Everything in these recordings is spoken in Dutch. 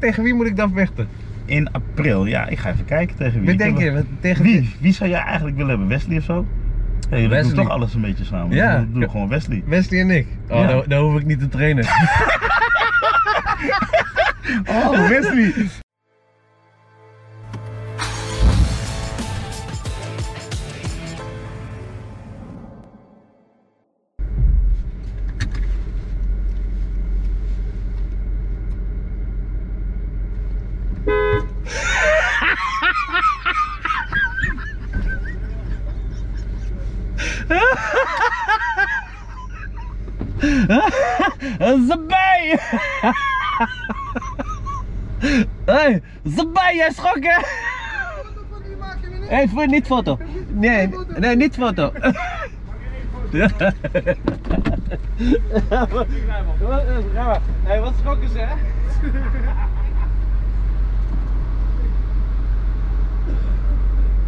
Tegen wie moet ik dan vechten? In april, ja, ik ga even kijken tegen wie. Wie Ik denk heb- je? Wat- Tegen Wie? Wie zou jij eigenlijk willen hebben? Wesley of zo? Hey, dat doet Wesley. toch alles een beetje samen. Ja. Ja. Doe gewoon Wesley. Wesley en ik. Oh, Ja. daar, daar hoef ik niet te trainen. Oh, Wesley! Eh, Zabij! Hé, Zabij, jij schrok hè? Hé, voor niet foto. Nee, nee, niet foto. Hé, wat schrokken ze hè?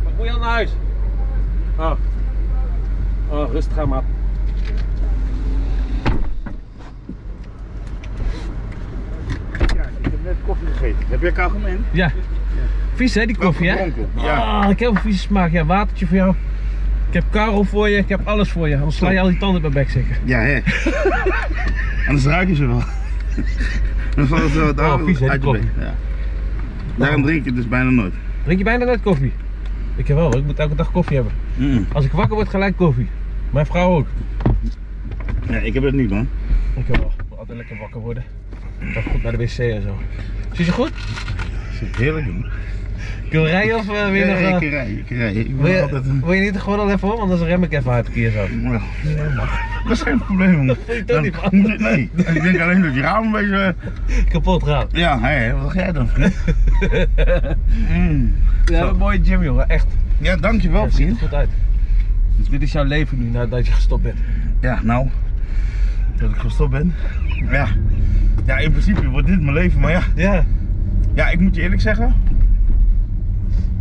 Wat moet je al naar huis? Oh. Oh, rustig aan, maat. Ik heb net koffie gegeten. Heb jij kauwgom Ja. Vies hè, die koffie hè? Ja. Ah, ik heb een vieze smaak. Ja, watertje voor jou. Ik heb Karel voor je, ik heb alles voor je. Anders sla je al die tanden op mijn bek zeker. Ja, hè. Anders ruik je ze wel. Dan valt ze wat Oh, vies, hè, die uit je bek. koffie. Ja. Daarom drink ik het dus bijna nooit. Drink je bijna nooit koffie? Ik heb wel, hoor. ik moet elke dag koffie hebben. Mm. Als ik wakker word, gelijk koffie. Mijn vrouw ook. Ja, ik heb het niet, man. Ik heb wel. Ik wil altijd lekker wakker worden. Dan goed naar de wc en zo. Zit je goed? Heerlijk, man. Kun je rijden of eh, weer Ja, nog... eh, ik rij, ik rij. Ik wil, ben je, altijd een... wil je niet gewoon al even om? Anders rem ik even uit een keer zo. Ja, dat is geen probleem, man. voel je toch Dan niet, man? moet ik- nee, ik denk alleen dat je raam een beetje... eh, Kapot raam. Ja, hè, wat ga jij dan? Mm. Ja, een mooie gym jongen, echt. Ja, dankjewel, Het ziet er vriend. goed uit. Dus dit is jouw leven nu nadat je gestopt bent. Ja, nou, dat ik gestopt ben. Ja. ja, in principe wordt dit mijn leven, maar ja. Ja. Ja, ik moet je eerlijk zeggen.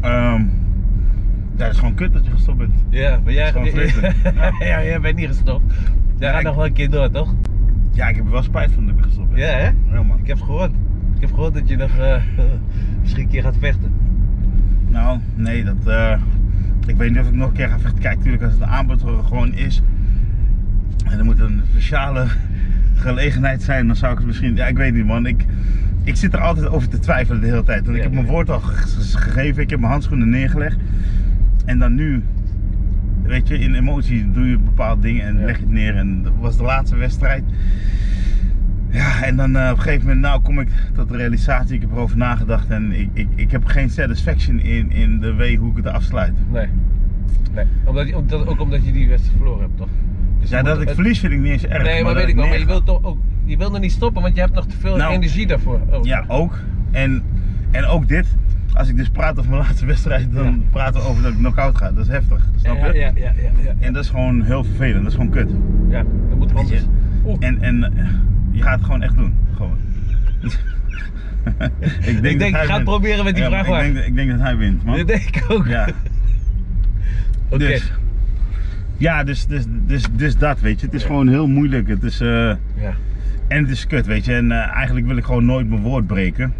Ehm ja, het is gewoon kut dat je gestopt bent. Ja, ben jij Dat is gewoon vreselijk. ja. jij bent niet gestopt. Jij gaat ik- nog wel een keer door, toch? Ja, ik heb er wel spijt van dat ik gestopt ben. Ja, hè? Ja, man. Ik heb het gehoord. Ik heb gehoord dat je nog eh, misschien een keer gaat vechten. Nou, nee, dat... eh, ik weet niet of ik nog een keer ga vechten. Kijk, natuurlijk als het een aanbod er gewoon is. En er moet een speciale gelegenheid zijn, dan zou ik het misschien... Ja, ik weet niet, man. Ik, ik zit er altijd over te twijfelen de hele tijd. Want ik Ja, heb ja, mijn ja. woord al ge- ge- gegeven. Ik heb mijn handschoenen neergelegd. En dan nu... Weet je, in emotie doe je bepaalde dingen en Ja. leg je het neer. En dat was de laatste wedstrijd. Ja, en dan eh, op een gegeven moment nou kom ik tot de realisatie, ik heb erover nagedacht en ik, ik, ik heb geen satisfaction in, in de way hoe ik het afsluit. Nee. nee. Omdat, je- omdat, ook omdat je die wedstrijd verloren hebt, toch? Dus Ja, je dat moet- ik het- verlies vind ik niet eens erg. Nee, maar dat weet ik wel. Maar je neerga. wilt toch ook. Je wilt nog niet stoppen, want je hebt nog te veel Nou. energie daarvoor. Oh. ook. Ja, ook. En, en ook dit. Als ik dus praat over mijn laatste wedstrijd, dan Ja. praten we over dat ik knock-out ga. Dat is heftig, snap je? Ja, ja, ja, ja, ja. En dat is gewoon heel vervelend, dat is gewoon kut. Ja, dat moet Weet je. anders. Oeh. En, en eh, je gaat het gewoon echt doen, gewoon. ik denk, dat ik hij ga het wint. proberen met die Ja, maar vraagwagen. Ik denk, ik denk dat hij wint, man. Dat denk ik ook. Ja. Oké. Dus, ja, dus, dus, dus, dus dat, weet je. Het is Ja. gewoon heel moeilijk. Het is, eh, Ja. en het is kut, weet je. En eh, eigenlijk wil ik gewoon nooit mijn woord breken.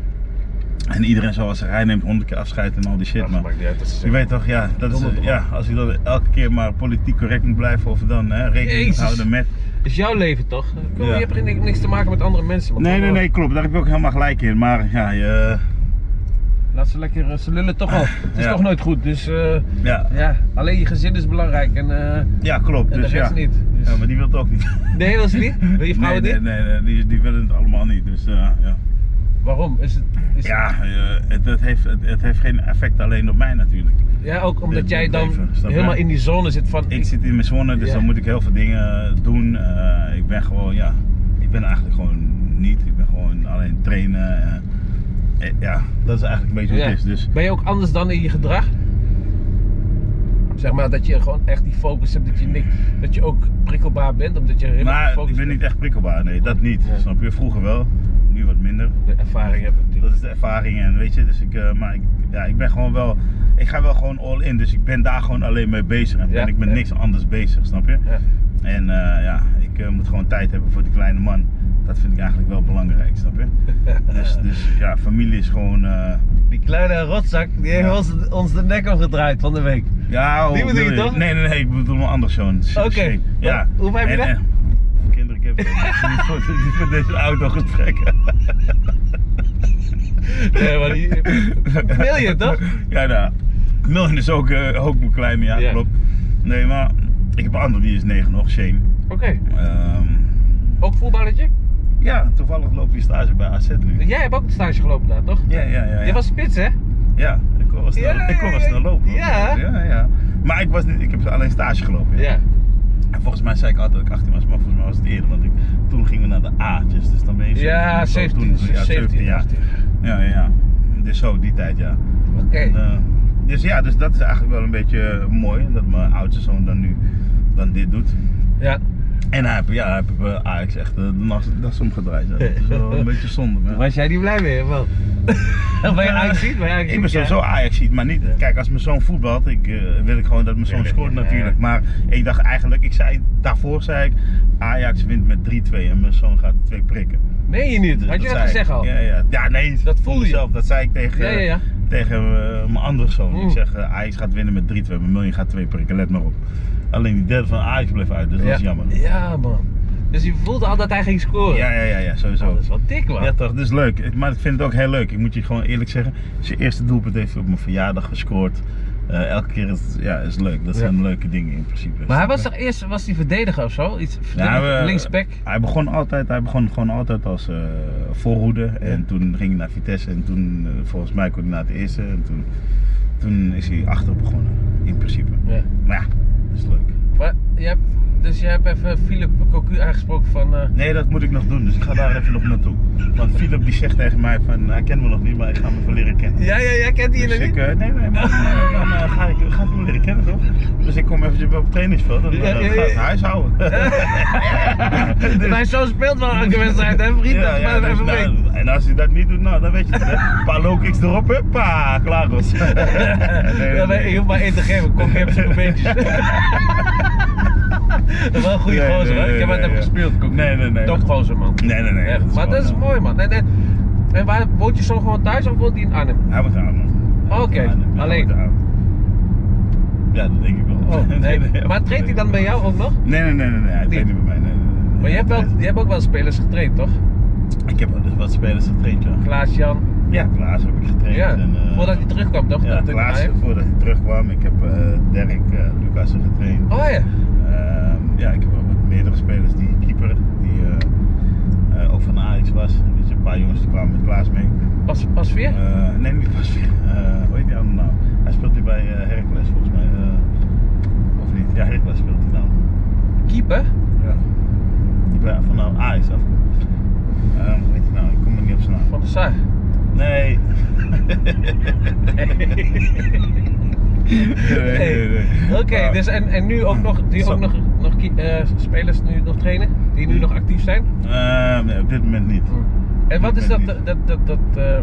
En iedereen zoals zeggen, hij neemt honderd keer afscheid en al die shit, Ach, man. maakt niet uit, dat is- Je weet toch, ja, dat is, Donder op. ja, als ik dan elke keer maar politiek correct moet blijven of dan hè, rekening moet Jezus. houden met... is jouw leven toch? Kom, Ja. Je hebt er ni- niks te maken met andere mensen. man. Nee, nee, nee, klopt. Daar heb je ook helemaal gelijk in. Maar ja, je, Laat ze lekker, eh, ze lullen toch al. Het is Ja. toch nooit goed, dus eh, ja, ja, alleen je gezin is belangrijk en, eh en ja, klopt. de Dus rest ja. niet. Dus... ja, maar die wil het ook niet. Nee, dat is niet? Wil je vrouw nee, het nee, niet? nee, nee, die, die willen het allemaal niet. Dus eh, ja. Waarom? Is het, is Ja, eh, het, het, heeft, het, het heeft geen effect alleen op mij natuurlijk. het- ja, ook omdat dit jij dan leven, snap je? helemaal in die zone zit van... Ik zit in mijn zone, dus Ja. dan moet ik heel veel dingen doen. Eh, ik ben gewoon, ja, ik ben eigenlijk gewoon niet. Ik ben gewoon alleen trainen. eh, eh, ja, dat is eigenlijk een beetje wat Ja. het is. Dus Ben je ook anders dan in je gedrag? Zeg maar dat je gewoon echt die focus hebt, dat je, niks, dat je ook prikkelbaar bent, omdat je helemaal maar gefocust ik ben bent. niet echt prikkelbaar, nee, dat niet. Nee. Snap je? Vroeger wel, nu wat minder. de ervaring hebt natuurlijk. Dat is de ervaring en weet je, dus ik, eh, maar ik, ja, ik ben gewoon wel, ik ga wel gewoon all in. Dus ik ben daar gewoon alleen mee bezig en Ja, ben ik met ja. niks anders bezig, snap je? Ja. En eh, ja, ik eh, moet gewoon tijd hebben voor die kleine man. Dat vind ik eigenlijk wel belangrijk, snap je? Dus, dus ja, familie is gewoon. eh, Die kleine rotzak, die heeft Ja. ons, ons de nek omgedraaid van de week. Ja, Die hoe bedoel bedoel je je? toch? Nee, nee, nee, ik bedoel een ander zo'n. s- Oké, shake. Ja. wel, hoe heb je En, dat? eh, Kinderen, ik heb het niet voor, niet voor deze auto gesprekken. Nee, maar die, Miljoen, toch? Ja, daar. Miljoen is ook, eh, ook mijn kleine, ja, Ja. klopt. Nee, maar ik heb een ander, die is 9 nog, Shane. Oké, Ehm, ook voetballetje? ja, toevallig loopt hij stage bij AZ nu. Jij hebt ook een stage gelopen daar, toch? Ja, ja, ja. Je ja. was spits, hè? Ja, ik kon wel snel, Ja, ik kon wel ja, snel lopen. hoor. ja. ja, ja. Maar ik, was niet, ik heb alleen stage gelopen. Ja. En volgens mij zei ik altijd dat ik 18 was, maar volgens mij was het eerder. Want ik, toen gingen we naar de A'tjes, dus dan ben je Ja, of zo, 17, toen- ja, 17, ja. 18. Ja, ja, ja. Dus zo, die tijd, ja. Oké. En, eh, dus ja, dus dat is eigenlijk wel een beetje eh, mooi, dat mijn oudste zoon dan nu dan dit doet. Ja. En hij heeft, ja, hij heeft eh, Ajax echt eh, de nas, das omgedraaid. ja. Dat is wel een beetje zonde. maar- Was jij niet blij mee, man? ben je aangezien? Ben je aangezien? Ik ben sowieso ajax maar niet. Kijk, als mijn zoon voetbalt, ik, eh, wil ik gewoon dat mijn zoon Tuurlijk, scoort ja. natuurlijk. Maar ik dacht eigenlijk, ik zei, daarvoor zei ik, Ajax wint met 3-2 en mijn zoon gaat twee prikken. Meen je niet? Dus Had je dat zei gezegd ik. al? Ja, ja. ja, nee. Dat voelde voor je? mezelf. Dat zei ik tegen, Ja, ja, ja. tegen eh, mijn andere zoon. Mm. Ik zeg, eh, Ajax gaat winnen met 3-2, maar Miljoen gaat twee prikken, let maar op. Alleen die derde van Ajax bleef uit, dus dat ja. is jammer. Ja, man. Dus je voelde al dat hij ging scoren? Ja, ja, ja, ja sowieso. Oh, dat is wel dik, man. Ja toch, dat is leuk. Ik- Maar ik vind het ook heel leuk. Ik moet je gewoon eerlijk zeggen. Zijn eerste doelpunt heeft hij op mijn verjaardag gescoord. Eh, elke keer is het ja, is leuk. Dat zijn leuke dingen in principe. Maar hij was toch eerst was hij verdediger of zo? Iets Ja, verdediger, Nou, we- linksback? Hij begon, altijd, hij begon gewoon altijd als eh, voorhoede. En toen ging hij naar Vitesse. En toen, eh, volgens mij, kon hij naar het eerste. En toen, toen is hij achter begonnen. In principe. Ja. Maar ja, dat is leuk. Maar je hebt, dus jij hebt even Philip Cocu aangesproken van... eh, Nee, dat moet ik nog doen. Dus ik ga daar even nog naartoe. Want Philip die zegt tegen mij van, "Nou, hij kent me nog niet, maar ik ga me even leren kennen. Ja, ja, ja, kent hij Dus je ik, niet? eh, nee, nee, maar maar dan eh, ga ik ga ik hem leren kennen toch? Dus ik kom eventjes op het trainingsveld en dan Ja, ja, eh, ja. ga ik naar huis houden. Dus- Mijn zoon speelt wel elke wedstrijd, hè vriend? Ja, Dat ja, maar dus even nou, mee. en als je dat niet doet, nou, dan weet je het. hè. Een paar low-kicks erop, huppa, klaar was. Nee, nee, Ja, maar nee. Ik hoef maar één te geven, ik kom geen psychobeentjes. Dat is wel een goede Nee, gozer, nee, hè? Ik heb nee, met hem nee, gespeeld, Cocu. Nee, nee, nee. Topgozer, man. Nee, nee, nee. Echt, maar dat is gewoon, mooi, man. En, en, en waar, woont je zoon gewoon thuis of woont hij in Arnhem? eh, Hij wordt aan, man. Hij Oké, wordt aan, hij alleen. wordt aan. Ja, dat denk ik wel. Oh, nee. nee, Maar traint hij dan bij jou ook nog? Nee, nee, nee, nee, nee, hij traint niet bij mij. Nee, nee, nee. Maar je hebt, wel, je hebt ook wel spelers getraind, toch? Ik heb wel dus wat spelers getraind, ja. Klaas-Jan. Ja, Klaas heb ik getraind. Ja, En, eh, voordat hij terugkwam, toch? ja, Dat ik- Klaas, hij- voordat hij terugkwam. Ik heb eh Dirk eh Lucas getraind. Oh ja. Ehm, ja, ik heb wel met meerdere spelers die keeper, die eh, eh, ook van Ajax was. Dus een paar jongens die kwamen met Klaas mee. Pas, pas weer? Eh, nee, niet pas weer. Eh, hoe heet die andere nou? Hij speelt nu bij eh, Heracles volgens mij. eh, of niet? Ja, Heracles speelt hij nou. Keeper? Ja. Die bij van nou, Ajax afkomt. Ehm, hoe heet hij nou? Ik kom er niet op zijn naam. Van de Sar. Nee. Nee, nee, nee. Oké, Nou, dus en, en nu ook nog, die Zo. ook nog, nog ki- eh, spelers nu nog trainen? Die nu nog actief zijn? ehm, nee, op dit moment niet. Hmm. En wat is weet dat, niet. dat, dat, dat, eh,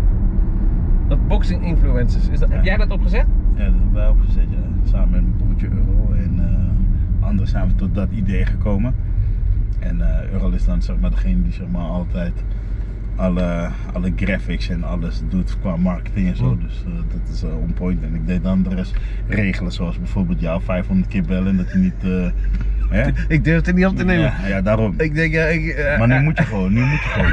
dat boxing influencers? Is dat, Ja. Heb jij dat opgezet? Ja, dat hebben wij opgezet, ja. Samen met mijn broertje Euro en eh, anderen zijn we tot dat idee gekomen. En eh Euro is dan zeg maar degene die zeg maar altijd alle, alle graphics en alles doet qua marketing en zo. Mm. Dus eh, dat is eh, on point. En ik deed dan de rest regelen, zoals bijvoorbeeld jou 500 keer bellen en dat je niet... eh, hè? Ik durf het niet op te nemen. Ja, ja, daarom. Ik denk, ja, ik... eh, Maar nu moet je gewoon, nu moet je gewoon.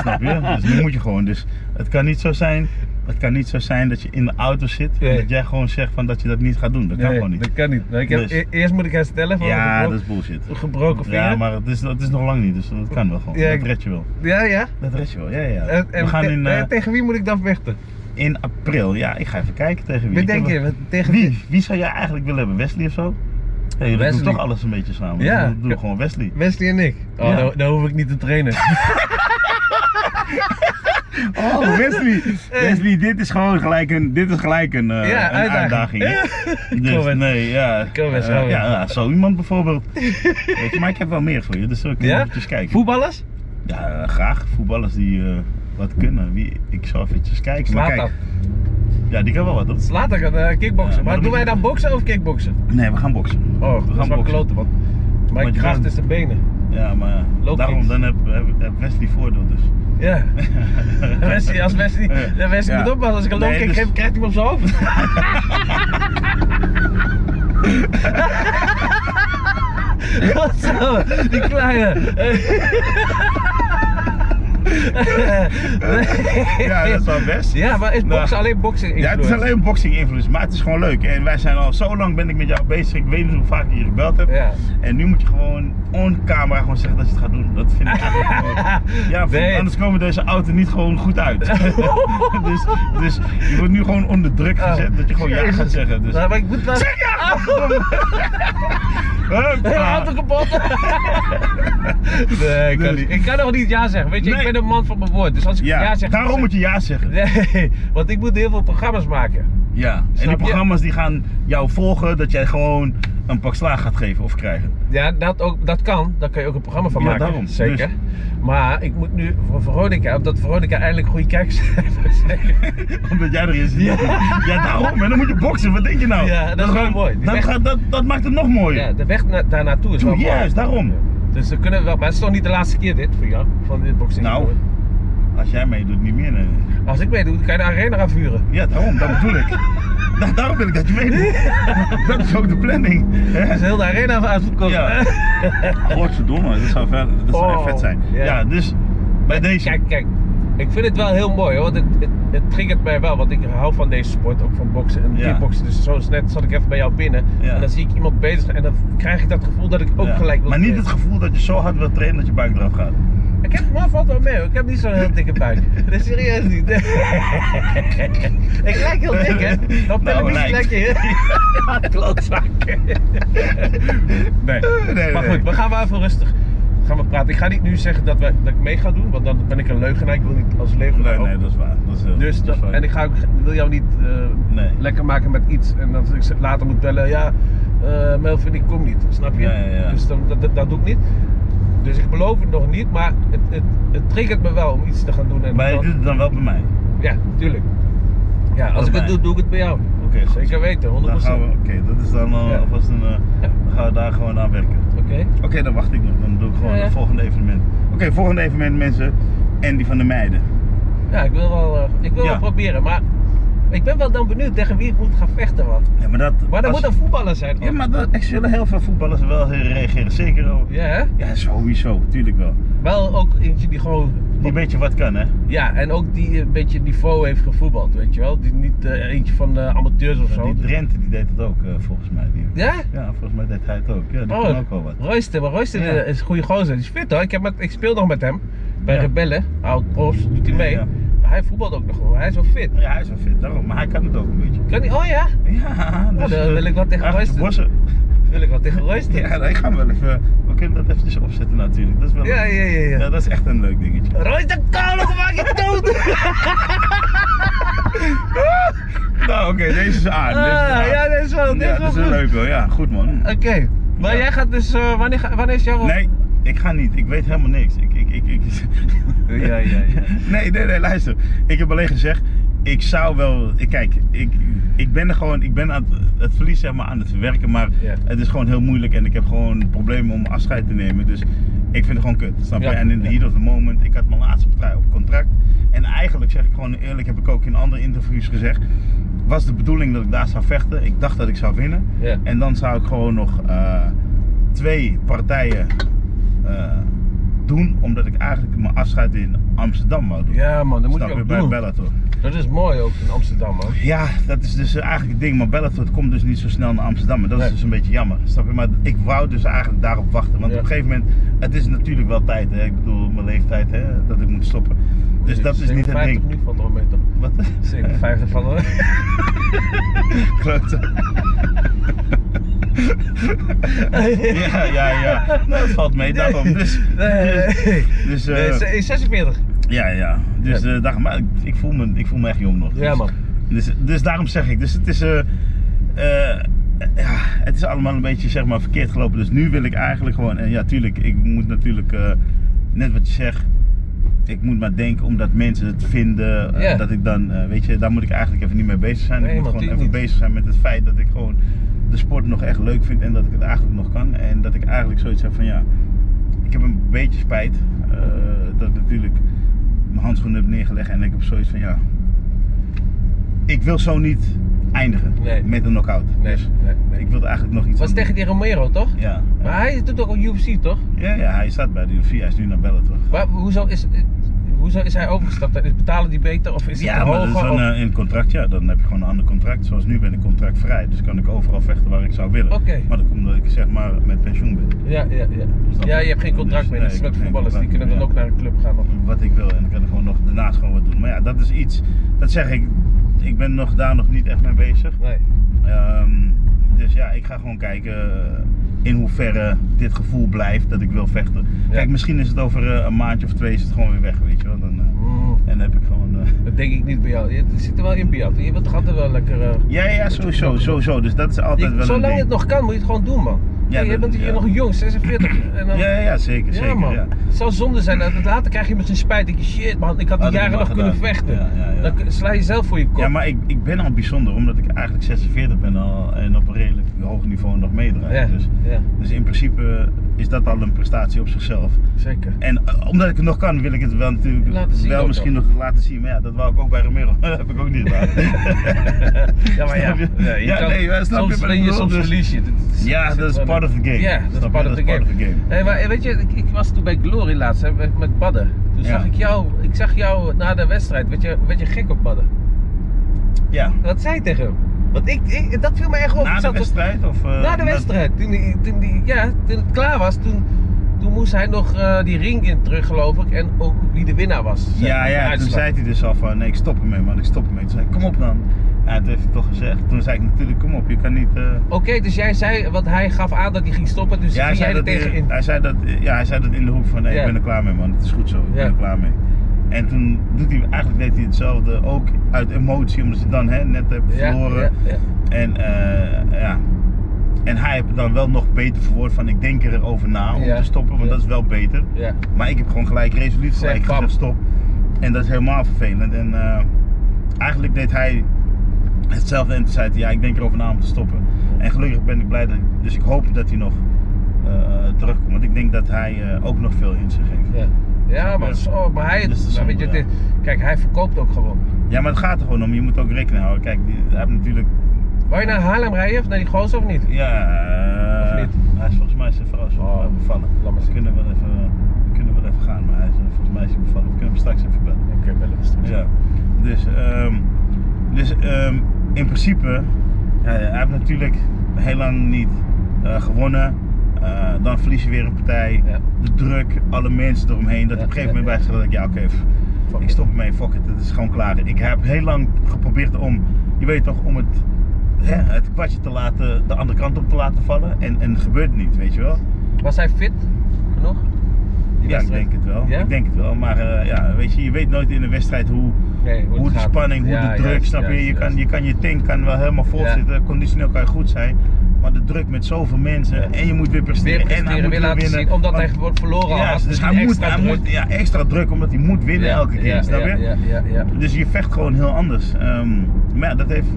Snap je? Dus nu moet je gewoon. Dus het kan niet zo zijn, het kan niet zo zijn dat je in de auto zit en Nee. dat jij gewoon zegt van dat je dat niet gaat doen. Dat kan Nee, gewoon niet. Dat kan niet. Nou, ik heb, Dus- e- eerst moet ik herstellen van Ja, gebro- dat is bullshit. gebroken vinger. Ja, maar het is, dat is nog lang niet, dus dat kan wel gewoon. Ja, ik- dat red je wel. ja. ja. Dat red je wel, ja, ja. En, en We gaan te- in, eh, eh, tegen wie moet ik dan vechten? in april, ja, ik ga even kijken tegen wie. Wie Ik denk heb- je? Wat- Tegen wie? Wie, wie zou jij eigenlijk willen hebben? Wesley of zo? Hey, dat doet Wesley. toch alles een beetje samen. Ja. Dat doe gewoon Wesley. Wesley en ik. Oh, Ja. nou, nou hoef ik niet te trainen. Oh, Wesley. Wesley, dit is gewoon gelijk een, dit is gelijk een, eh, Ja, een uitdaging. uitdaging. hè? Kom dus eens. nee, ja. Kom eens, Eh, gaan we. ja, ja, zo iemand bijvoorbeeld. Weet je, maar ik heb wel meer voor je, dus we kunnen Ja? eventjes kijken. Voetballers? ja, eh, graag. Voetballers die eh, wat kunnen. Wie, ik zal eventjes kijken. Maar Slaat dat. kijk, ja, die kan wel wat. hoor. Slaat dat eh, kickboksen. Ja, maar maar dan doen moet wij je- dan boksen of kickboksen? Nee, we gaan boksen. Oh, dat gaan is wel boksen. kloten, want mijn Want je kracht bent- is de benen. Ja, maar eh, Loop daarom niet. dan heb, heb, heb Wesley voordeel dus. Ja. Wesley, als Wesley, dan Wesley Ja. moet oppassen. Als ik een Nee, low kick dus- geef, krijgt hij hem op zijn hoofd. Wat zo, die kleine. Ja, dat is wel best. Ja, maar is Nou. boksen alleen boksen Ja, het is alleen boxing invloed, maar het is gewoon leuk. En wij zijn al zo lang ben ik met jou bezig. Ik weet niet hoe vaak ik je gebeld heb. Ja. En nu moet je gewoon on camera gewoon zeggen dat je het gaat doen. Dat vind ik eigenlijk gewoon- Ja, vind- Nee. anders komen deze auto niet gewoon goed uit. dus, dus je wordt nu gewoon onder druk Oh. gezet dat je gewoon ja gaat zeggen. Dus. Nou, maar ik moet wel... Zeg ja! Hele Huppa. auto kapot! Ah. nee, ik kan, Nee. ik kan nog niet ja zeggen. Weet je, Nee. ik ben een man van mijn woord. Dus als ik ja, Ja, zeg... daarom moet je ja zeggen. Nee, want ik moet heel veel programma's maken. Ja. En Snap die je? programma's die gaan jou volgen dat jij gewoon een pak slaag gaat geven of krijgen. Ja, dat, ook, dat kan. Daar kan je ook een programma van Ja, maken. daarom. Zeker. Dus- Maar ik moet nu voor Veronica, omdat Veronica eindelijk goede kijkcijfers heeft. Omdat jij erin zit. Ja. daarom. En dan moet je boksen. Wat denk je nou? Ja, dat is wel gaat- mooi. Die Dat, weg- gaat, dat, dat maakt het nog mooier. Ja, de weg na, daar naartoe is wel mooi. Juist, daarom. Dus dan kunnen we wel. Maar het is toch niet de laatste keer dit voor jou? Van dit boxing. Nou. Als jij meedoet, niet meer. nee. Als ik meedoe, dan kan je de arena afvuren. Ja, daarom. Dat bedoel ik. Da- daarom wil ik dat je meedoet. dat is ook de planning. hè? Dus heel de arena uitverkocht. Ja. Godverdomme, dat zou, ver, dat zou echt Oh, vet zijn. ja. Ja, dus bij deze. Kijk, kijk. Ik vind het wel heel mooi hoor, want het, het, het triggert mij wel, want ik hou van deze sport, ook van boksen en Ja. kickboksen. Dus zo is net zat ik even bij jou binnen Ja. en dan zie ik iemand bezig en dan krijg ik dat gevoel dat ik ook Ja. gelijk wil Maar niet het trainen. gevoel dat je zo hard wilt trainen dat je buik eraf gaat. Ik heb, maar valt wel mee hoor, ik heb niet zo'n heel dikke buik. Dat is serieus niet. ik lijk heel dik hè, op Nou, televisie lijk lijkt. je heel... Klootzak. nee. Nee, nee, maar nee. goed, we gaan maar even rustig. Gaan we praten. Ik ga niet nu zeggen dat, wij, dat ik mee ga doen, want dan ben ik een leugenaar. Ik wil niet als leugenaar Nee, ook nee, dat is waar. Dat is, heel- Dus dat is dat- waar. en ik ga ook, wil jou niet eh, Nee. lekker maken met iets en dat ik ze later moet bellen, ja, eh Melvin, ik kom niet, snap je? Ja, ja, ja. Dus dan, dat, dat, dat doe ik niet. Dus ik beloof het nog niet, maar het, het, het triggert me wel om iets te gaan doen. En Maar je dan- doet het dan wel bij mij. Ja, tuurlijk. Ja, als Dat ik het mij. doe, doe ik het bij jou. Oké, goed. Zeker weten, 100%. Dan gaan we, oké, dat is dan al Ja. alvast een, eh, Ja. dan gaan we daar gewoon aan werken. Oké. Oké, dan wacht ik nog, dan doe ik gewoon Ja, ja. het volgende evenement. Oké, volgende evenement mensen, Andy van de Meiden. Ja, ik wil, wel, eh, ik wil Ja. wel proberen, maar ik ben wel dan benieuwd tegen wie ik moet gaan vechten, want. Ja, maar dat... Maar dat als- moet een voetballer zijn. Ja, maar dat, er zullen heel veel voetballers wel reageren, zeker ook. Ja, hè? Ja, sowieso, tuurlijk wel. Wel ook eentje die gewoon Die beetje wat kan, hè? Ja, en ook die eh, een beetje niveau heeft gevoetbald, weet je wel. Die niet eh, eentje van de amateurs of zo. Die Drenthe, die deed het ook, eh, volgens mij. Die. Ja? Ja, volgens mij deed hij het ook. Ja, die Oh, kon ook wel wat. Royster, maar Royster Ja. eh, is een goede gozer. Die is fit hoor. Ik, heb met, ik speel nog met hem. Bij Ja. Rebellen, oud profs, doet hij Ja, mee. ja. Maar hij voetbalt ook nog wel. Hij is wel fit. Ja, hij is wel fit, daarom. Maar hij kan het ook een beetje. Kan hij? Oh ja? Ja, dus, Oh, dan eh, wil ik wat tegen achter de Royster. bossen. Wil ik wat tegen Royster? Ja, nee, ik ga hem wel even. We kunnen dat eventjes opzetten natuurlijk. Dat is wel. Ja, ja, ja, ja. dat is echt een leuk dingetje. Royster, koude, maak je dood! Nou, oké, deze is aan. deze is Ah, aan. ja, dat is wel, dat is wel Ja, dat is wel goed. leuk wel. Ja, goed man. Oké, maar Ja. jij gaat dus, eh, wanneer, ga- wanneer is jouw... Nee, ik ga niet. Ik weet helemaal niks. Ik, ik, ik, ik... Ja, ja, ja. Nee, nee, nee, luister. Ik heb alleen gezegd, ik zou wel. Ik, kijk, ik, ik ben er gewoon. Ik ben aan het, het verlies zeg maar, aan het verwerken, maar Ja. het is gewoon heel moeilijk en ik heb gewoon problemen om afscheid te nemen. Dus ik vind het gewoon kut. Snap je? Ja, En in the ja. heat of the moment, ik had mijn laatste partij op contract. En eigenlijk zeg ik gewoon eerlijk, heb ik ook in andere interviews gezegd. Was de bedoeling dat ik daar zou vechten? Ik dacht dat ik zou winnen. Ja. En dan zou ik gewoon nog eh, twee partijen eh, doen, omdat ik eigenlijk mijn afscheid in Amsterdam wou doen. Ja man, dat moet Snap je je, ook bij doen. Bellator. Dat is mooi ook in Amsterdam man. Ja, dat is dus eigenlijk het ding. Maar Bellator komt dus niet zo snel naar Amsterdam. En dat Nee. is dus een beetje jammer. Snap je? Maar ik wou dus eigenlijk daarop wachten. Want Ja. op een gegeven moment, het is natuurlijk wel tijd. Hè? Ik bedoel, mijn leeftijd, hè? dat ik moet stoppen. Dus dat is niet het 57 ding. minuten van het moment, toch? Wat? 57 van de... Klote. Ja, ja, ja. Nou, dat valt mee. Daarom. Dus, Nee, nee. dus eh, Nee, ze- 46. ja, ja. Dus Ja. eh daar, maar ik, ik voel me, ik voel me echt jong nog. Ja, Dus- man. Dus, dus daarom zeg ik. Dus het is, eh, eh, ja, het is allemaal een beetje zeg maar, verkeerd gelopen. Dus nu wil ik eigenlijk gewoon. En ja, tuurlijk, ik moet natuurlijk. eh, net wat je zegt. Ik moet maar denken omdat mensen het vinden. eh, Ja. Dat ik dan. eh, weet je, daar moet ik eigenlijk even niet mee bezig zijn. Nee, ik moet man, gewoon even tuurlijk niet. bezig zijn met het feit dat ik gewoon de sport nog echt leuk vind. En dat ik het eigenlijk nog kan. En dat ik eigenlijk zoiets heb van ja. ik heb een beetje spijt eh, dat ik natuurlijk mijn handschoenen heb neergelegd en ik heb zoiets van ja. Ik wil zo niet eindigen Nee. met een knockout. Nee, Dus nee, nee. ik wilde eigenlijk nog iets. Was aan tegen die Romero, toch? doen. Ja. Maar hij doet ook al UFC, toch? ja, ja, hij staat bij de UFC, hij is nu naar Bellator. Maar hoezo is, eh, hoezo is hij overgestapt? Is betalen die beter of is het Ja, een maar dat is hoger? dan of- eh, in contract, ja. Dan heb je gewoon een ander contract. Zoals nu ben ik contractvrij, dus kan ik overal vechten waar ik zou willen. Oké. Maar dat komt omdat ik zeg maar met pensioen ben. Ja, ja, ja. Snap Ja, je? je hebt geen contract Dus, meer. nee, Dat is ik met heb geen voetballers, die contract kunnen dan meer, ook ja. naar de club gaan. Of... Wat ik wil en dan kan ik gewoon nog daarnaast gewoon wat doen. Maar ja, dat is iets, dat zeg ik, ik ben nog, daar nog niet echt mee bezig. Nee. Ehm, dus ja, ik ga gewoon kijken in hoeverre dit gevoel blijft dat ik wil vechten. Ja. Kijk, misschien is het over eh, een maandje of twee is het gewoon weer weg, weet je wel. Dan, eh, Mm, en dan heb ik gewoon... eh, dat denk ik niet bij jou. Je zit er wel in bij jou. Je wilt toch altijd wel lekker... eh, Ja, ja, sowieso, sowieso. Dus dat is altijd je- wel een zolang ding. het nog kan, moet je het gewoon doen, man. Ja, Kijk, je dat- bent hier ja. nog jong, 46. En dan... Ja, ja, zeker, Ja, zeker. man. Ja. Het zou zonde zijn. dat- dat Later krijg je misschien spijt. Dat je shit, man, ik had die Had ik jaren maar nog kunnen gedaan. vechten. Ja, ja, ja. Dan k- sla je zelf voor je kop. Ja, maar ik, ik ben al bijzonder, omdat ik eigenlijk 46 ben al en op een redelijk hoog niveau nog meedraai. ja, Dus, ja, dus in principe is dat al een prestatie op zichzelf. zeker. En eh, omdat ik het nog kan, wil ik het wel natuurlijk Laten zien wel ook misschien nog laten zien. Maar ja, dat wou ik ook bij Romero. dat heb ik ook niet gedaan. Ja, maar ja. Snap je? ja, je Ja, kan- nee, maar snap je soms wat ik win je, bedoel? soms Dus- verlies je. Dat is- Ja, zit dat is wel part in. of the game. Ja, dat Snap is je? part of the game. Hey, maar eh, weet je, ik, ik was toen bij Glory laatst hè, met, met badden. Toen Ja. zag ik jou, ik zag jou na de wedstrijd, werd je, werd je gek op badden. Ja. Wat zei je tegen hem? Want ik, ik- dat viel me echt op. Ik Na de zat dus- wedstrijd? Of, eh, na de wedstrijd, toen, die, toen, die, ja, toen het klaar was, toen, toen moest hij nog eh, die ring in terug geloof ik en ook wie de winnaar was. zeg Ja, maar, de ja, toen uitslag. zei hij dus al van nee, ik stop ermee man, ik stop ermee. Toen zei ik, kom op dan. Ja, toen heeft hij toch gezegd. Toen zei ik natuurlijk, kom op, je kan niet... eh, Oké, dus jij zei, want hij gaf aan dat hij ging stoppen, dus Ja, hij ging jij zei, er dat, tegen in. hij, zei dat, ja, hij zei dat in de hoek van nee, Ja. ik ben er klaar mee man, het is goed zo, ik Ja. ben er klaar mee. En toen doet hij, eigenlijk deed hij hetzelfde, ook uit emotie, omdat ze dan hè, net hebben Ja, verloren. ja, ja. En, eh, ja. en hij heeft het dan wel nog beter verwoord van ik denk erover na om Ja. te stoppen, want Ja. dat is wel beter. ja. Maar ik heb gewoon gelijk resoluut Zeg, gelijk bam. gezegd stop. En dat is helemaal vervelend. En eh, eigenlijk deed hij hetzelfde en toen zei hij, ja, ik denk erover na om te stoppen. En gelukkig ben ik blij dat, dus ik hoop dat hij nog eh, terugkomt. Want ik denk dat hij eh, ook nog veel in zich heeft. Ja, ja maar, zo, maar hij, Dus dat is maar weet je, zonde, dit- kijk, hij verkoopt ook gewoon. Ja, maar het gaat er gewoon om. Je moet ook rekening houden. Kijk, die, hij heeft natuurlijk, Wou je naar Haarlem rijden of naar die gozer of niet? ja, eh, Of hij is volgens mij zijn vrouw is volgens mij Oh, bevallen. laat maar we zien. kunnen wel even, we kunnen wel even gaan, maar hij is eh, volgens mij is hij bevallen. We kunnen hem straks even bellen. Ik heb wel even straks. Ja, dus, ehm, dus ehm, in principe, ja, hij heeft natuurlijk heel lang niet eh, gewonnen. Eh, dan verlies je weer een partij. Ja. De druk, alle mensen eromheen. Dat Ja, op een gegeven ja, moment ja. bij zich dat ik, ja oké, pff, Fuck ik it. stop ermee, fuck it, het is gewoon klaar. Ik heb heel lang geprobeerd om, je weet toch, om het, hè, het kwartje te laten, de andere kant op te laten vallen. En, en het gebeurt niet, weet je wel. Was hij fit genoeg? Die Ja, ik wedstrijd? denk het wel. Ja? Ik denk het wel. Maar eh, ja, weet je, je weet nooit in een wedstrijd hoe, Nee, hoe hoe, het de gaat. spanning, hoe Ja, de druk, juist, snap je? juist, Je kan, juist. je kan je tank kan wel helemaal vol Ja. zitten, conditioneel kan je goed zijn, maar de druk met zoveel mensen Ja. en je moet weer presteren, Weer en hij presteren, moet weer laten winnen. zien, omdat want- hij wordt verloren ja, had. dus die hij moet, extra hij druk. moet ja, extra druk omdat hij moet winnen Ja, elke keer, ja, snap je? Ja, ja, ja, ja. Dus je vecht gewoon heel anders. Ehm, maar ja, dat heeft,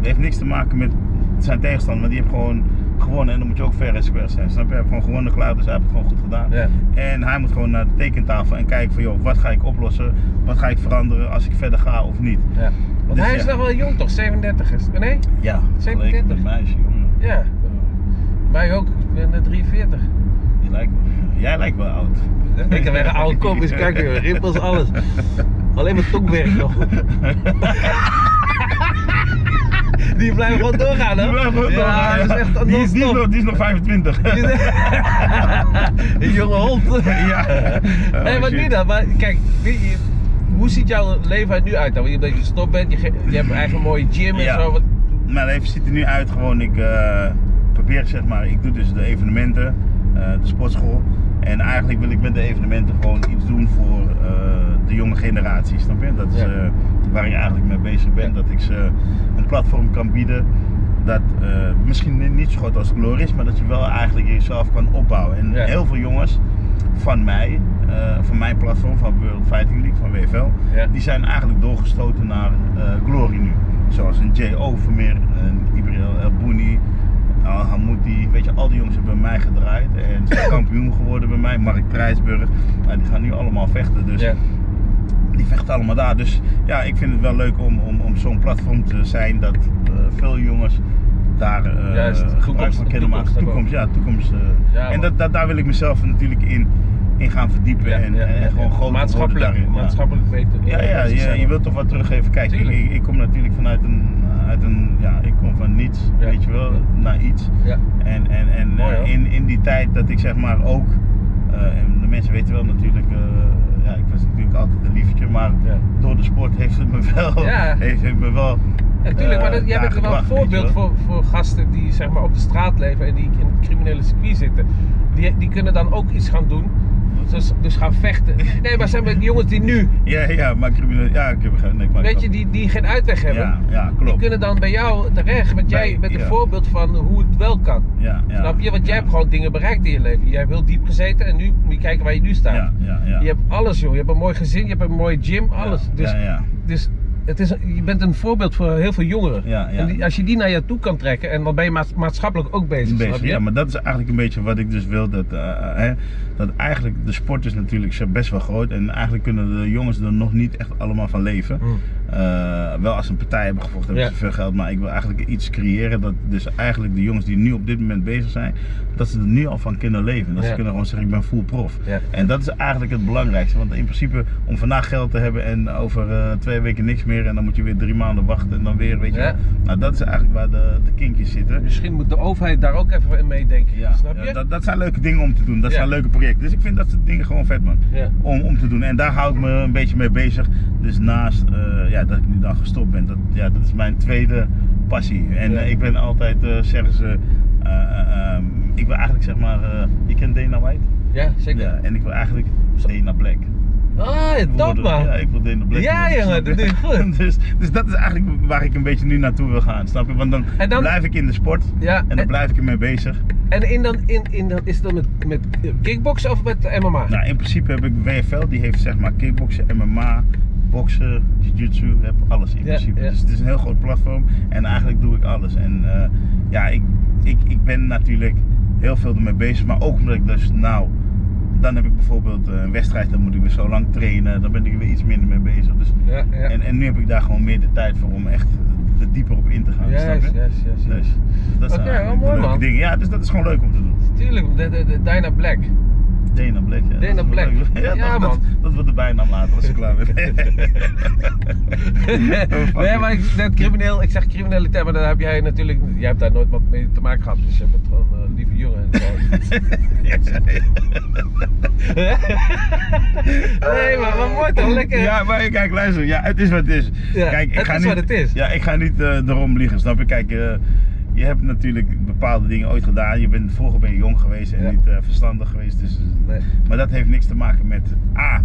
heeft niks te maken met zijn tegenstander, want die heeft gewoon gewonnen en dan moet je ook fair en square zijn, snap je? Hij heeft gewoon gewonnen, klaar, dus hij heeft het gewoon goed gedaan. Ja. En hij moet gewoon naar de tekentafel en kijken van joh, wat ga ik oplossen, wat ga ik veranderen als ik verder ga of niet. ja. Want Dus hij is ja. nog wel jong toch? 37 is Nee? Ja, 37. vergeleken met een meisje, jongen. Ja. Mij ook. Ik ben eh, 43. Je lijkt, jij lijkt wel oud. Ik heb weer een oude kop, eens kijken, joh. rimpels, alles. Alleen mijn tongwerk nog. Die blijven gewoon doorgaan, hè? Die blijft wel Ja, doorgaan, dat is echt die, is, die, is nog, non-stop. die is nog 25. Die is- Die jonge hond. ja. Hé, Oh, maar shit. nu dan, maar kijk, wie- je- hoe ziet jouw leven er nu uit? Dan? Want je dat je gestopt bent, je, ge- je hebt een eigen mooie gym en Ja. zo. Wat, Mijn leven ziet er nu uit gewoon, ik eh, probeer zeg maar, ik doe dus de evenementen, eh, de sportschool. En eigenlijk wil ik met de evenementen gewoon iets doen voor eh, de jonge generatie, snap je? Dat is Ja. eh, waar ik eigenlijk mee bezig ben, Ja. dat ik ze een platform kan bieden. Dat eh, misschien ni- niet zo groot als Glory is, maar dat je wel eigenlijk jezelf kan opbouwen. En Ja. heel veel jongens van mij, eh, van mijn platform, van World Fighting League, van WFL, Ja. die zijn eigenlijk doorgestoten naar eh, Glory nu. Zoals een J.O. Vermeer, een Ibrahim El Bouni, Al Hamouti, weet weet je, al die jongens hebben bij mij gedraaid en zijn kampioen geworden bij mij. Mark Prijsburg, nou, die gaan nu allemaal vechten. Dus Ja. die vechten allemaal daar. Dus ja, ik vind het wel leuk om, om, om zo'n platform te zijn dat eh, veel jongens daar eh Juist, gebruik toekomst, van kunnen toekomst maken. ook. Toekomst, ja, toekomst. eh. Ja, en man. dat, dat, daar wil ik mezelf natuurlijk in, in gaan verdiepen Ja, en, ja, en ja, eh, gewoon ja. groter worden maatschappelijk, daarin. ja. maatschappelijk beter. Ja, ja, bezig je, zijn. je wilt toch wat teruggeven. Kijk, ik, Tuurlijk. ik ik kom natuurlijk vanuit een, uit een ja, ik kom van niets, Ja. weet je wel, Ja. naar iets. Ja. En, en, en Mooi, eh, hoor. in, in die tijd dat ik zeg maar ook, eh, en de mensen weten wel natuurlijk, eh, ja, ik was natuurlijk altijd een liefje, maar Ja. door de sport heeft het me wel, Ja. heeft het me wel Ja, tuurlijk, maar dat, jij Eh, bent er wel een daar gebracht, voorbeeld weet je wel. voor, voor gasten die zeg maar, op de straat leven en die in het criminele circuit zitten. Die, die kunnen dan ook iets gaan doen. Dus, dus gaan vechten. Nee, maar zijn we die jongens die nu, Ja, ja, maar crimineel. Ja, ik heb geen. Nee, maar weet je, die, die geen uitweg hebben, Ja, ja, die klopt. kunnen dan bij jou terecht. Want jij Bij- bent een ja. voorbeeld van hoe het wel kan. ja, ja, Snap je? Want jij ja. hebt gewoon dingen bereikt in je leven. Jij hebt heel diep gezeten en nu moet je kijken waar je nu staat. Ja, ja, ja. Je hebt alles joh. Je hebt een mooi gezin, je hebt een mooie gym, alles. Ja, dus ja, ja. dus het is, je bent een voorbeeld voor heel veel jongeren. Ja, ja. En die- als je die naar je toe kan trekken, en dan ben je maats- maatschappelijk ook bezig. Bezig, snap je? ja, maar dat is eigenlijk een beetje wat ik dus wil. Dat, eh, eh, hè, dat eigenlijk de sport is natuurlijk zo best wel groot. En eigenlijk kunnen de jongens er nog niet echt allemaal van leven. Mm. Eh, wel als ze een partij hebben gevochten hebben Ja. ze veel geld. Maar ik wil eigenlijk iets creëren dat dus eigenlijk de jongens die nu op dit moment bezig zijn, dat ze er nu al van kunnen leven. Dat Ja. ze kunnen gewoon zeggen ik ben full prof. Ja. En dat is eigenlijk het belangrijkste. Want in principe om vandaag geld te hebben en over eh, twee weken niks meer. En dan moet je weer drie maanden wachten en dan weer, weet je Ja. wel. Nou dat is eigenlijk waar de, de kinkjes zitten. Misschien moet de overheid daar ook even in meedenken. Ja, snap je? ja, dat, dat zijn leuke dingen om te doen. Dat Ja. zijn leuke projecten. Dus ik vind dat soort dingen gewoon vet, man. Ja. Om, om te doen. En daar hou ik me een beetje mee bezig. Dus naast eh, ja, dat ik nu dan gestopt ben, dat, ja, dat is mijn tweede passie. En Ja. eh, ik ben altijd, eh, zeggen ze, eh, eh, ehm, ik wil eigenlijk zeg maar, eh, je kent Dana White? Ja, zeker. Ja. En ik wil eigenlijk Dana Black. Ah, Ik wil top worden- man. Ja, ik wil Dana Black. Ja, worden, jongen, snap je? dat doe je goed. dus, dus dat is eigenlijk waar ik een beetje nu naartoe wil gaan, snap je? Want dan, En dan- blijf ik in de sport Ja, en dan en- blijf ik ermee bezig. En in dan, in, in dan, is het dan met, met kickboksen of met MMA? Nou, in principe heb ik WFL, die heeft zeg maar kickboksen, MMA, boksen, jiu-jitsu, heb alles Ja, in principe. ja. Dus het is een heel groot platform en eigenlijk doe ik alles. En eh, ja, ik, ik, ik ben natuurlijk heel veel ermee bezig, maar ook omdat ik dus nou, dan heb ik bijvoorbeeld eh, een wedstrijd, dan moet ik weer zo lang trainen, dan ben ik er weer iets minder mee bezig. Dus, Ja, ja. en, en nu heb ik daar gewoon meer de tijd voor om echt er dieper op in te gaan. Juist, snap je? juist, juist, juist. Dus, dat zijn Oké, wel eigenlijk de mooi, leuke man. dingen. Ja, dus dat is gewoon leuk om te doen. Tuurlijk, de, de, de Dyna Black. Dana Black. Ja, Dana Dat is wel Black. leuk. Ja, Ja, dat, man. Dat, dat wordt de bijnaam later als ik klaar ben. Oh, nee, maar ik, dat crimineel, ik zeg criminaliteit, maar daar heb jij natuurlijk, jij hebt daar nooit wat mee te maken gehad. Dus je bent gewoon een lieve jongen. en zo. nee, maar wat mooi toch? Lekker. Ja, maar kijk, luister. Ja, het is wat het is. Ja, kijk, ik het ga is niet, wat het is. Ja, ik ga niet eh erom liegen, snap je? Kijk, eh, je hebt natuurlijk bepaalde dingen ooit gedaan. Je bent, vroeger ben je jong geweest en Ja. niet eh, verstandig geweest. Dus, Nee. Maar dat heeft niks te maken met... A,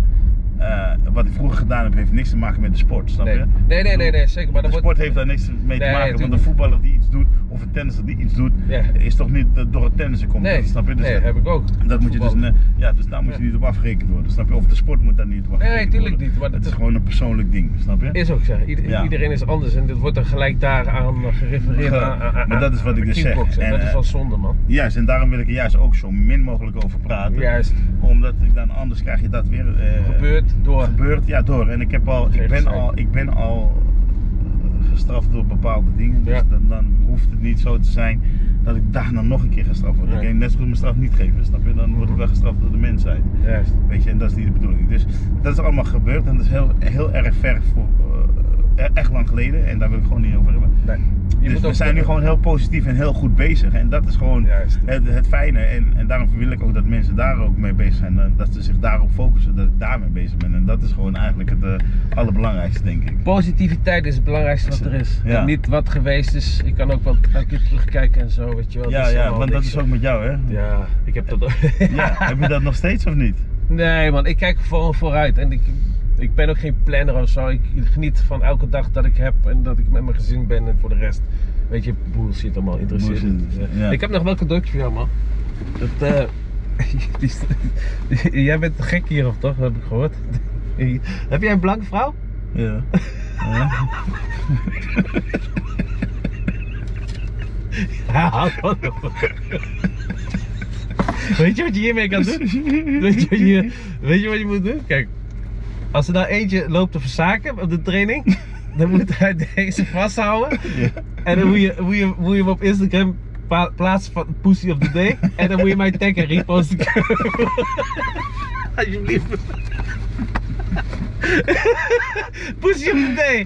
eh, wat ik vroeger gedaan heb, heeft niks te maken met de sport, snap Nee. je? Nee, nee, nee, nee, zeker, maar de dan sport wordt- heeft daar niks mee te Nee, maken, want tuurlijk. een voetballer die iets doet, of een tennisser die iets doet, Ja. is toch niet eh, door het tennissen komt, Nee, dat, snap je? Dus nee, dat- heb ik ook. dat moet je dus, Voetbal. ne- ja, dus daar moet je Ja. niet op afgerekend worden, snap je? Of de sport moet daar niet op afgerekend tuurlijk worden. niet, maar het dat- is gewoon een persoonlijk ding, snap je? Is ook zo. Ieder- Ja. Iedereen is anders en dit wordt er gelijk daaraan gerefereerd. Ja, aan- aan- aan- maar dat is wat aan ik de dus zeg. kickboksen. En, dat is eh, wel zonde, man. Juist, en daarom wil ik er juist ook zo min mogelijk over praten. Juist. Omdat ik dan anders krijg je dat weer... eh, Gebeurt door. Gebeurd, ja, door. En ik, heb al, ik, ben, Geregistreerd. al, ik ben al eh, gestraft door bepaalde dingen. Dus Ja. dan, dan hoeft het niet zo te zijn dat ik daarna nog een keer gestraft word. Ik Nee. kan net zo goed mijn straf niet geven, snap je? Dan word ik wel gestraft door de mensheid. Juist. Weet je, en dat is niet de bedoeling. Dus dat is allemaal gebeurd en dat is heel, heel erg ver, voor, eh, e- echt lang geleden. En daar wil ik gewoon niet over hebben. Nee. Dus we zijn nu gewoon heel positief en heel goed bezig. En dat is gewoon Juist. het, het fijne. En, en daarom wil ik ook dat mensen daar ook mee bezig zijn. eh, Dat ze zich daarop focussen, dat ik daarmee bezig ben. En dat is gewoon eigenlijk het eh, allerbelangrijkste, denk ik. Positiviteit is het belangrijkste wat er is. Ja. En niet wat geweest is. Ik kan ook wel elke keer terugkijken en zo, weet je wel. Ja, Dat is ja, allemaal want dat niks, is ook met jou, hè? joh. Ja, ik heb dat ook. Ja, heb je dat nog steeds of niet? Nee man, ik kijk gewoon vooruit. En ik, ik ben ook geen planner of zo. Ik geniet van elke dag dat ik heb en dat ik met mijn gezin ben. En voor de rest, weet je, bullshit allemaal. Interesseert me Bullshit, niet. ja. Ik heb nog wel cadeautje voor jou man. Dat, eh, die is- jij bent gek hier of toch? Dat heb ik gehoord. heb jij een blanke vrouw? Ja. Ja, hallo. Weet je wat je hiermee kan doen? Weet je, wat je, weet je wat je moet doen? Kijk, als er nou eentje loopt te verzaken op de training, dan moet hij deze vasthouden. En dan moet je, moet, je, moet je hem op Instagram pla- plaatsen van Pussy of the Day. En dan moet je mij taggen, reposten. Alsjeblieft. Pussy of the Day.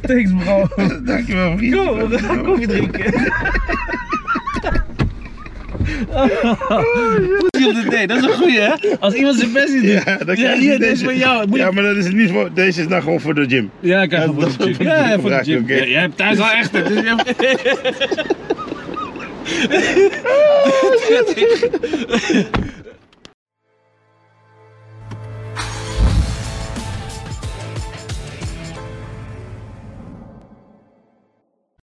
Thanks bro. Dankjewel, vriend. Kom, we gaan koffie drinken. Pussy of the Day, dat is een goeie hè? Als iemand zijn best niet doet. Ja, dan krijg je hier, deze. deze is van jou. Moet je- Ja, maar dat is niet voor, deze is nou gewoon voor de gym. Ja, ik krijg Ja, hem voor dat de is gym. ook- Ja, ja, voor de gebruik je, gym. oké. Ja, jij hebt thuis al echt het, dus je hebt...